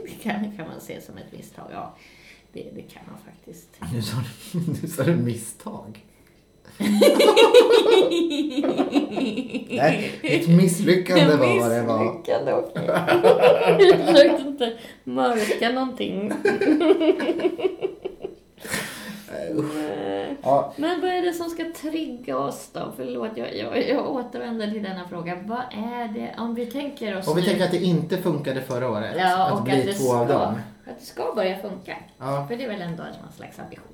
Speaker 2: det kan, kan man se som ett misstag. Ja, det, det kan man faktiskt.
Speaker 4: Nu sa du, nu sa du misstag. Nej, ett misslyckande var vad det var.
Speaker 2: Misslyckande, okej. Jag försökte inte mörka någonting. Nej.
Speaker 4: Ja,
Speaker 2: Men vad är det som ska trigga oss då? Förlåt, jag, jag, jag återvänder till denna fråga. Vad är det, om vi tänker oss
Speaker 4: och vi
Speaker 2: nu-
Speaker 4: tänker att det inte funkade förra året.
Speaker 2: ja,
Speaker 4: att
Speaker 2: och
Speaker 4: bli
Speaker 2: att det
Speaker 4: två av
Speaker 2: ska-
Speaker 4: dem.
Speaker 2: Att det ska börja funka.
Speaker 4: Ja.
Speaker 2: För det är väl ändå någon slags ambition.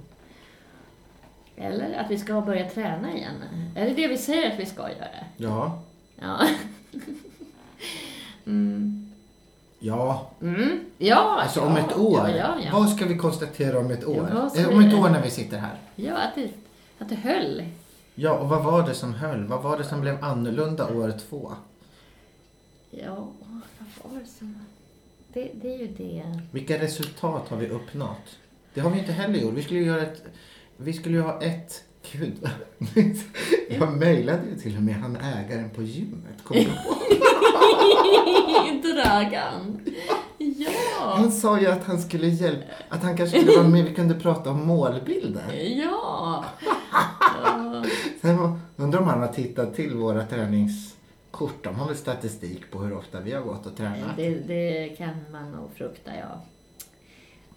Speaker 2: Eller att vi ska börja träna igen. Är det det vi säger att vi ska göra?
Speaker 4: Ja.
Speaker 2: Ja.
Speaker 4: Ja.
Speaker 2: Mm. Ja,
Speaker 4: Alltså
Speaker 2: ja,
Speaker 4: om ett år.
Speaker 2: Ja, ja, ja.
Speaker 4: Vad ska vi konstatera om ett år?
Speaker 2: Ja, vad ska
Speaker 4: Eh, om
Speaker 2: vi-
Speaker 4: ett år när vi sitter här.
Speaker 2: ja att, det, att det höll.
Speaker 4: Ja, och vad var det som höll? Vad var det som blev annorlunda år två?
Speaker 2: Ja, åh, vad var det som... Det, det är ju det.
Speaker 4: Vilka resultat har vi uppnått? Det har vi inte heller gjort. Vi skulle ju göra ett... Vi skulle ju ha ett... Gud, jag mejlade ju till och med han ägaren på gymmet. Kom du ihåg?
Speaker 2: Dragan! Ja!
Speaker 4: Han sa ju att han skulle hjälpa, att han kanske skulle vara med, vi kunde prata om målbilder.
Speaker 2: Ja! Ja.
Speaker 4: Sen var- undrar om han har tittat till våra träningskort. De har väl statistik på hur ofta vi har gått och tränat.
Speaker 2: Mm, Det, det kan man nog frukta, ja.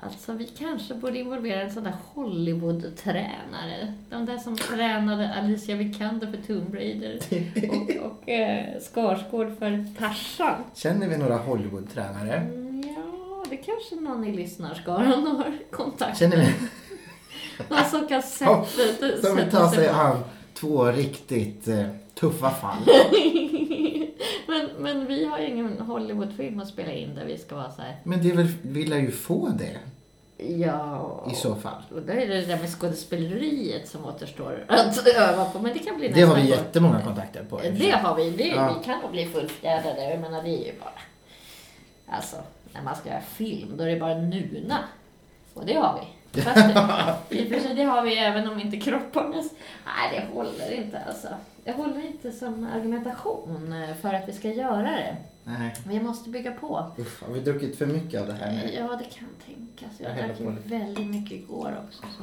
Speaker 2: Alltså, vi kanske borde involvera en sån där Hollywood-tränare. De där som tränade Alicia Vikander för Tomb Raider och, och eh, Skarsgård för Tarzan.
Speaker 4: Känner vi några Hollywood-tränare?
Speaker 2: Mm, Ja, det kanske någon i lyssnarskaran har Alltså, kontakt
Speaker 4: Känner vi
Speaker 2: Någon som kan sätta, sätta
Speaker 4: som vill ta sig an två riktigt eh, tuffa fall?
Speaker 2: men, men vi har ju ingen Hollywoodfilm att spela in där vi ska vara så här.
Speaker 4: Men det är väl, vi lär ju få det
Speaker 2: Ja.
Speaker 4: i så fall.
Speaker 2: Och då är det det där med skådespeleriet som återstår att öva på. Men det kan bli
Speaker 4: Det har vi
Speaker 2: nästa gång.
Speaker 4: jättemånga kontakter på.
Speaker 2: Eh, Det har vi. Det,
Speaker 4: Ja.
Speaker 2: Vi kan nog bli fullfjädrade. Jag menar, det är ju bara... Alltså, när man ska göra film, då är det bara nuna. Och det har vi. Fast det, I och för sig, det har vi även om inte kropparna... Nej, det håller inte alltså. Det håller inte som argumentation eh, för att vi ska göra det.
Speaker 4: Nej,
Speaker 2: Vi måste bygga på.
Speaker 4: uff, har vi druckit för mycket av det här nu?
Speaker 2: Eh, Ja, det kan tänkas.
Speaker 4: Jag
Speaker 2: Jag
Speaker 4: häller
Speaker 2: drack ju
Speaker 4: på lite.
Speaker 2: väldigt mycket igår också. Så.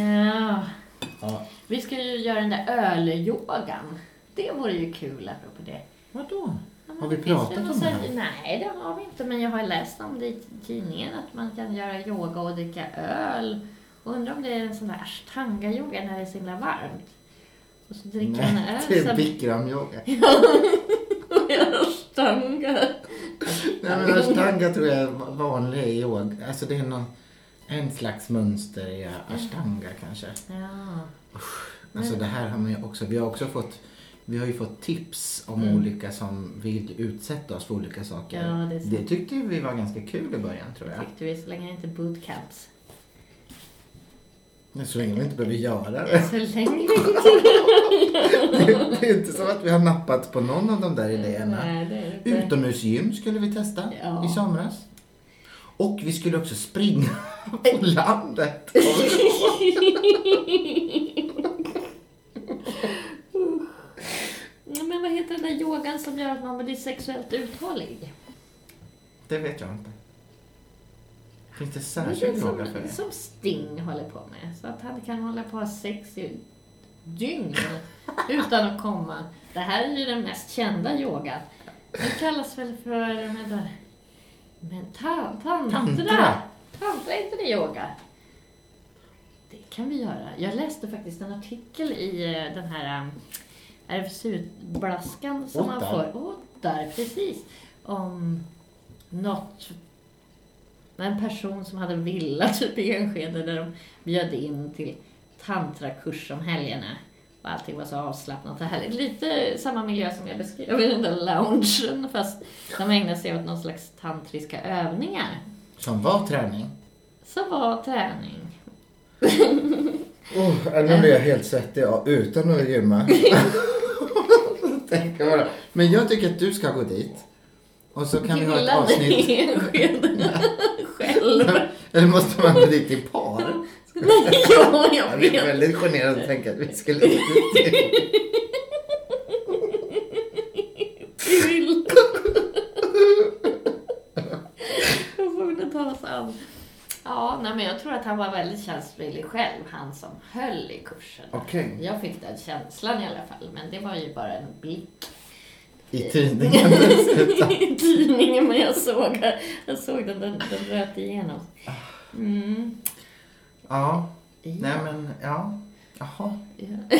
Speaker 2: Ja.
Speaker 4: Ja.
Speaker 2: Vi ska ju göra den där ölyogan. Det vore ju kul, apropå det.
Speaker 4: Vadå?
Speaker 2: Ja, men
Speaker 4: Har vi
Speaker 2: det finns
Speaker 4: pratat
Speaker 2: väl
Speaker 4: om
Speaker 2: någon
Speaker 4: det
Speaker 2: sån-
Speaker 4: här?
Speaker 2: Nej, det har vi inte. Men jag har läst om det i tidningen, att man kan göra yoga och dricka öl. Och undrar om det är en sån där ashtanga-yoga när det är så himla varmt. Och så dricker man
Speaker 4: Nej, det
Speaker 2: öl
Speaker 4: är
Speaker 2: som
Speaker 4: bikramyoga. Nej
Speaker 2: gör ashtanga.
Speaker 4: men ashtanga tror jag är vanlig yoga. Alltså det är någon, en slags mönster i ashtanga kanske.
Speaker 2: Ja.
Speaker 4: Alltså det här har man ju också, vi har också fått, vi har ju fått tips om
Speaker 2: Mm.
Speaker 4: olika som vill utsätta oss för olika saker.
Speaker 2: Ja, det är sant.
Speaker 4: det tyckte ju vi var ganska kul i början tror jag.
Speaker 2: Tyckte vi, så länge det inte är bootcamps.
Speaker 4: Men Så länge vi inte behöver göra det.
Speaker 2: Så länge
Speaker 4: Det är inte som att vi har nappat på någon av de där idéerna.
Speaker 2: Nej, det är det inte.
Speaker 4: Utomhusgym skulle vi testa
Speaker 2: Ja.
Speaker 4: i somras. Och vi skulle också springa på landet.
Speaker 2: Nej, Men vad heter den där yogan som gör att man blir sexuellt uthållig?
Speaker 4: Det vet jag inte. Finns det
Speaker 2: Det är
Speaker 4: särskild
Speaker 2: som,
Speaker 4: yoga för det?
Speaker 2: som Sting håller på med. Så att han kan hålla på och ha sex i dygn utan att komma. Det här är ju den mest kända yogan. Den kallas väl för... Vänta, men tan, tantra.
Speaker 4: Tantra.
Speaker 2: Tantra, är inte det yoga? Det kan vi göra. Jag läste faktiskt en artikel i eh, den här eh, RFSU-blaskan som man
Speaker 4: Ottar.
Speaker 2: får. Ottar, precis. Om något men en person som hade en villa typ i Enskede där de bjöd in till tantrakurs om helgerna. Och allting var så avslappnat och härligt. Lite samma miljö som jag beskrev i den där loungen fast de ägnade sig åt någon slags tantriska övningar.
Speaker 4: Som var träning.
Speaker 2: Så var träning.
Speaker 4: Oh, nu blir jag helt svettig ja, utan att gymma. Tänk bara. Men jag tycker att du ska gå dit. Och så kan vi ha ett
Speaker 2: Gilla
Speaker 4: avsnitt.
Speaker 2: dig enskild. Själv.
Speaker 4: Eller måste man gå dit i par?
Speaker 2: Nej, jo, jag
Speaker 4: Jag är
Speaker 2: vet.
Speaker 4: väldigt generad att tänka att vi skulle gå dit.
Speaker 2: vill. jag får inte talas an. Ja, nej, men jag tror att han var väldigt känslig själv, han som höll i kursen.
Speaker 4: Okej.
Speaker 2: Jag fick den känslan i alla fall, men det var ju bara en blick
Speaker 4: I tidningen.
Speaker 2: i tidningen. Men jag såg, jag såg den, den, den röt igenom. Mm.
Speaker 4: Ja.
Speaker 2: Ja.
Speaker 4: Nej men, ja. Jaha.
Speaker 2: Ja.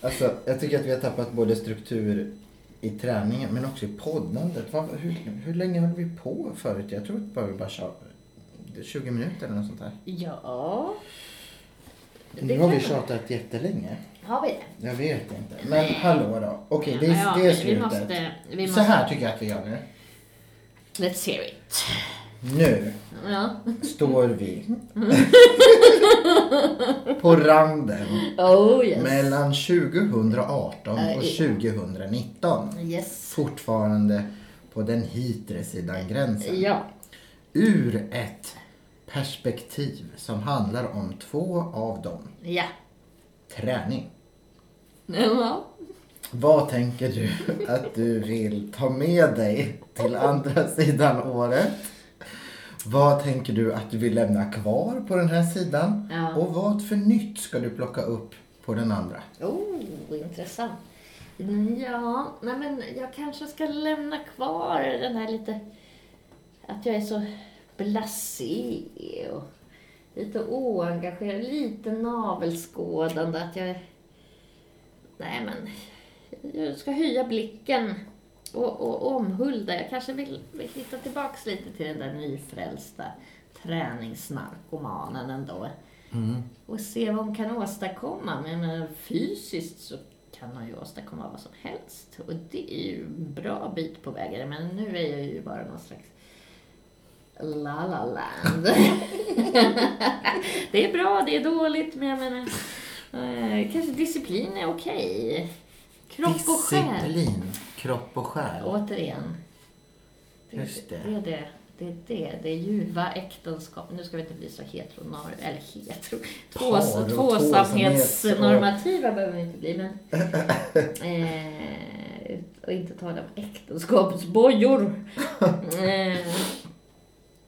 Speaker 4: Alltså, jag tycker att vi har tappat både struktur i träningen men också i poddandet. Vad, hur, hur länge höll vi på förut? Jag tror att bara vi bara tja- 20 minuter eller något sånt där.
Speaker 2: ja. Det
Speaker 4: Nu har vi
Speaker 2: kan-
Speaker 4: tjatat jättelänge.
Speaker 2: Har vi det?
Speaker 4: Jag vet inte. Men hallå då. Okej, det,
Speaker 2: Ja,
Speaker 4: är- det är
Speaker 2: vi
Speaker 4: slutet.
Speaker 2: måste, vi
Speaker 4: Så
Speaker 2: måste,
Speaker 4: här tycker jag att vi gör nu.
Speaker 2: let's hear it.
Speaker 4: Nu
Speaker 2: Ja.
Speaker 4: står vi
Speaker 2: Mm.
Speaker 4: på randen
Speaker 2: Oh yes.
Speaker 4: mellan 2018
Speaker 2: Eh,
Speaker 4: och
Speaker 2: i-
Speaker 4: 2019.
Speaker 2: Yes.
Speaker 4: Fortfarande på den hitre sidan gränsen.
Speaker 2: Ja.
Speaker 4: Ur ett perspektiv som handlar om två av dem.
Speaker 2: Ja.
Speaker 4: Träning.
Speaker 2: Ja.
Speaker 4: Vad tänker du att du vill ta med dig till andra sidan året? Vad tänker du att du vill lämna kvar på den här sidan?
Speaker 2: Ja.
Speaker 4: Och vad för nytt ska du plocka upp på den andra?
Speaker 2: Oh, intressant. Ja, nej men jag kanske ska lämna kvar den här lite... Att jag är så blasé och lite oengagerad, lite navelskådande. Att jag... Nej men, jag ska höja blicken och, och omhulda. Jag kanske vill, vill hitta tillbaks lite till den där nyfrälsta träningsnarkomanen ändå. och se vad hon kan åstadkomma. Men jag menar, fysiskt så kan hon ju åstadkomma vad som helst. Och det är ju en bra bit på vägen. Men nu är jag ju bara någon slags la la land. det är bra, det är dåligt, men jag menar, eh, kanske disciplin är okej. Kropp och själ.
Speaker 4: Disciplin, kropp och själ.
Speaker 2: Återigen.
Speaker 4: Just det.
Speaker 2: Det är det. Det är det. Det är ljuva äktenskap. Nu ska vi inte bli så heteronor... Eller hetero... Tvås,
Speaker 4: Par och
Speaker 2: tvåsamhetsnormativa behöver vi inte bli, men... Eh, och inte tala om äktenskapsbojor. Eh,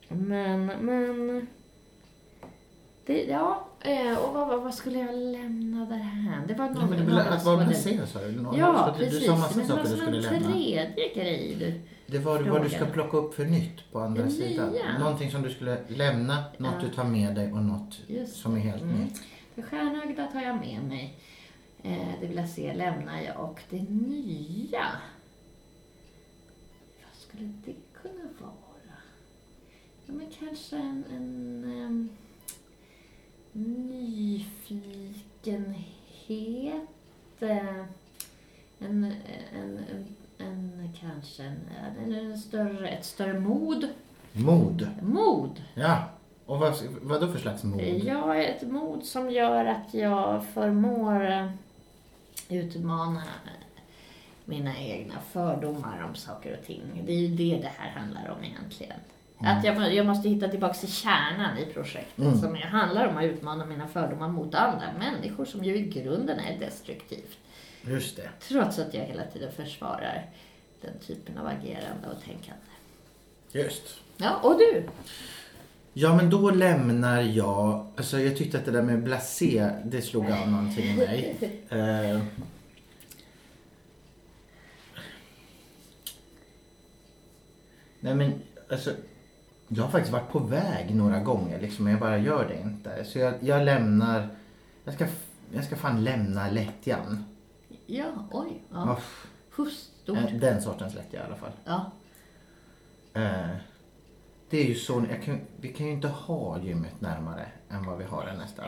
Speaker 2: men, men... Det, ja, eh, och vad, vad, vad skulle jag lämna där här? Det var
Speaker 4: Nej,
Speaker 2: någon...
Speaker 4: men det blir att vara
Speaker 2: någon-
Speaker 4: blasé sa du. Någon-
Speaker 2: Ja,
Speaker 4: du-
Speaker 2: precis.
Speaker 4: Du sa massa
Speaker 2: men det var
Speaker 4: saker du
Speaker 2: som
Speaker 4: skulle
Speaker 2: en
Speaker 4: lämna.
Speaker 2: tredje grej. Du.
Speaker 4: Det var vad du ska
Speaker 2: fråga.
Speaker 4: plocka upp för nytt på andra
Speaker 2: Ja,
Speaker 4: sidan.
Speaker 2: nya.
Speaker 4: Någonting som du skulle lämna, något
Speaker 2: Ja.
Speaker 4: du tar med dig och något
Speaker 2: Just
Speaker 4: som är helt
Speaker 2: Mm.
Speaker 4: nytt.
Speaker 2: Det stjärnögda tar jag med mig. Eh, det vill jag se lämnar jag och det nya. Vad skulle det kunna vara? Ja, men kanske en, en eh, em, nyfikenhet. eh, En, en, en, en kanske en, en, en större, ett större mod.
Speaker 4: Mod.
Speaker 2: Mod!
Speaker 4: Ja. Och vad, vad då för slags mod?
Speaker 2: Jag har ett mod som gör att jag förmår eh, utmana mina egna fördomar om saker och ting. Det är ju det det här handlar om egentligen. Att jag, må- jag måste hitta tillbaka till kärnan i projektet
Speaker 4: Mm.
Speaker 2: som ju handlar om att utmana mina fördomar mot andra människor som ju i grunden är destruktivt.
Speaker 4: Just det.
Speaker 2: Trots att jag hela tiden försvarar den typen av agerande och tänkande.
Speaker 4: Just.
Speaker 2: Ja, och du?
Speaker 4: Ja, men då lämnar jag... Alltså, jag tyckte att det där med blasé, det slog av någonting i mig. Eh. Nej, men alltså... Jag har faktiskt varit på väg några gånger, liksom, men jag bara gör det inte. Så jag, jag lämnar... Jag ska, f- jag ska fan lämna lättjan.
Speaker 2: Ja, oj. Ja.
Speaker 4: Ja.
Speaker 2: Huss, stort.
Speaker 4: Eh, Den sortens lättja i alla fall.
Speaker 2: Ja.
Speaker 4: Eh, det är ju så, jag kan, vi kan ju inte ha gymmet närmare än vad vi har det nästan.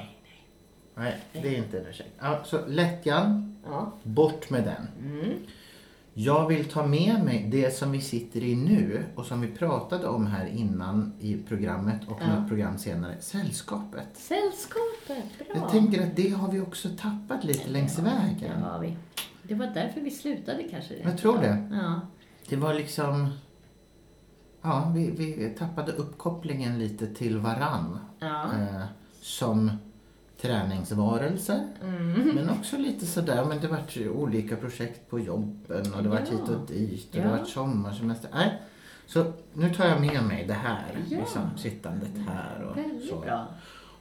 Speaker 4: Nej, det är inte en ursäkt. Ja, så lättjan,
Speaker 2: ja. Mm.
Speaker 4: bort med den. Jag vill ta med mig det som vi sitter i nu och som vi pratade om här innan i programmet och
Speaker 2: Ja.
Speaker 4: något program senare, sällskapet.
Speaker 2: Sällskapet, bra.
Speaker 4: Jag tänker att det har vi också tappat lite längs vägen.
Speaker 2: Det har vi. Det var därför vi slutade kanske. rent
Speaker 4: Jag tror
Speaker 2: av.
Speaker 4: det.
Speaker 2: Ja.
Speaker 4: Det var liksom... Ja, vi, vi tappade uppkopplingen lite till varann.
Speaker 2: Ja.
Speaker 4: Eh, som träningsvarelser.
Speaker 2: Mm.
Speaker 4: Men också lite sådär, men det vart ju olika projekt på jobben och det vart
Speaker 2: Ja.
Speaker 4: hit och dit och
Speaker 2: Ja.
Speaker 4: det vart sommarsemester. Nej. Så nu tar jag med mig det här,
Speaker 2: Ja.
Speaker 4: liksom, sittandet här och
Speaker 2: Väldigt
Speaker 4: så.
Speaker 2: bra.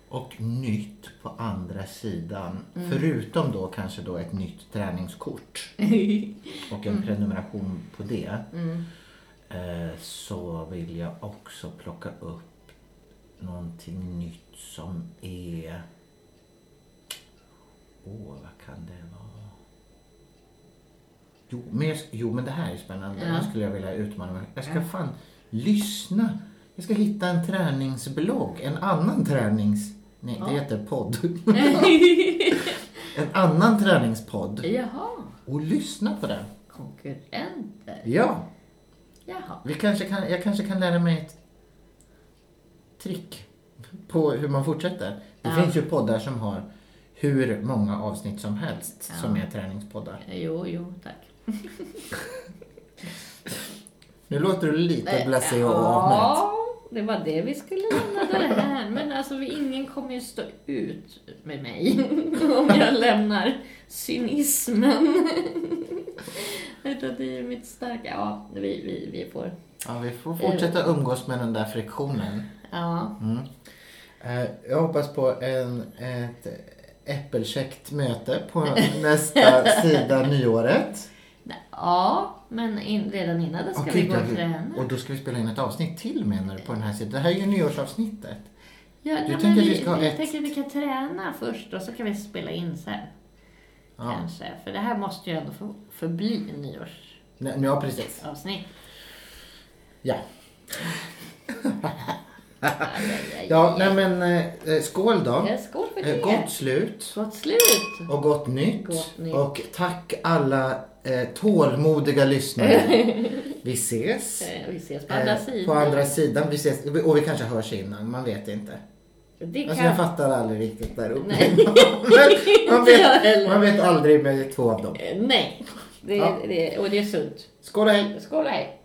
Speaker 4: Och nytt på andra sidan,
Speaker 2: Mm.
Speaker 4: förutom då kanske då ett nytt träningskort och en
Speaker 2: Mm.
Speaker 4: prenumeration på det eh, så vill jag också plocka upp någonting nytt som är... Åh, vad kan det vara? Jo men, jag, jo, men det här är spännande.
Speaker 2: Ja.
Speaker 4: Det skulle jag vilja utmana mig. Jag ska fan lyssna. Jag ska hitta en träningsblogg. En annan tränings... Nej, det heter podd. en annan träningspodd.
Speaker 2: Jaha,
Speaker 4: Och lyssna på den.
Speaker 2: konkurrenter.
Speaker 4: Ja.
Speaker 2: Jaha.
Speaker 4: Vi kanske kan, jag kanske kan lära mig ett trick på hur man fortsätter. Det
Speaker 2: Ja.
Speaker 4: finns ju poddar som har hur många avsnitt som helst
Speaker 2: Ja.
Speaker 4: som är träningspoddar.
Speaker 2: Jo, jo, tack.
Speaker 4: Nu låter du lite blasé och avmätt.
Speaker 2: Ja, det var det vi skulle lämna det här. Men alltså, vi- ingen kommer ju stå ut med mig om jag lämnar cynismen. Utan det är ju mitt starka... Ja, vi, vi, vi får...
Speaker 4: Ja, vi får fortsätta umgås med den där friktionen. Mm.
Speaker 2: Ja,
Speaker 4: Eh, Jag hoppas på en, ett äppelkäckt möte på nästa sida nyåret.
Speaker 2: ja men in, redan innan det ska
Speaker 4: Åh,
Speaker 2: vi
Speaker 4: gud,
Speaker 2: gå
Speaker 4: jag
Speaker 2: och
Speaker 4: vill-
Speaker 2: träna.
Speaker 4: och då ska vi spela in ett avsnitt till menar du på den här sidan. Det här är ju nyårsavsnittet.
Speaker 2: Ja, nej,
Speaker 4: tänker
Speaker 2: men
Speaker 4: att
Speaker 2: vi,
Speaker 4: vi ska ha
Speaker 2: vi
Speaker 4: ett-
Speaker 2: tänker att vi kan träna först och så kan vi spela in sen.
Speaker 4: Ja.
Speaker 2: Kanske, för det här måste ju ändå få, förbli nyårsavsnitt.
Speaker 4: Nej, Ja, precis. Ja.
Speaker 2: Aj, aj, aj.
Speaker 4: Ja, nej men eh, eh, skål då.
Speaker 2: Ja, Skål för det.
Speaker 4: Eh, gott slut
Speaker 2: Gott slut.
Speaker 4: och gott nytt.
Speaker 2: Gott nytt.
Speaker 4: Och tack alla eh, tålmodiga lyssnare. Vi ses.
Speaker 2: Eh, Vi ses på andra
Speaker 4: eh,
Speaker 2: sidan.
Speaker 4: På andra sidan. Vi ses. Och vi kanske hörs innan, man vet inte.
Speaker 2: Det
Speaker 4: Alltså
Speaker 2: kan...
Speaker 4: jag fattar aldrig riktigt där uppe.
Speaker 2: Nej.
Speaker 4: Men man,
Speaker 2: jag
Speaker 4: vet,
Speaker 2: heller.
Speaker 4: man vet aldrig med två av dem.
Speaker 2: Eh, Nej, det,
Speaker 4: Ja.
Speaker 2: det, och det är sunt.
Speaker 4: Skål och hej!
Speaker 2: Skål hej.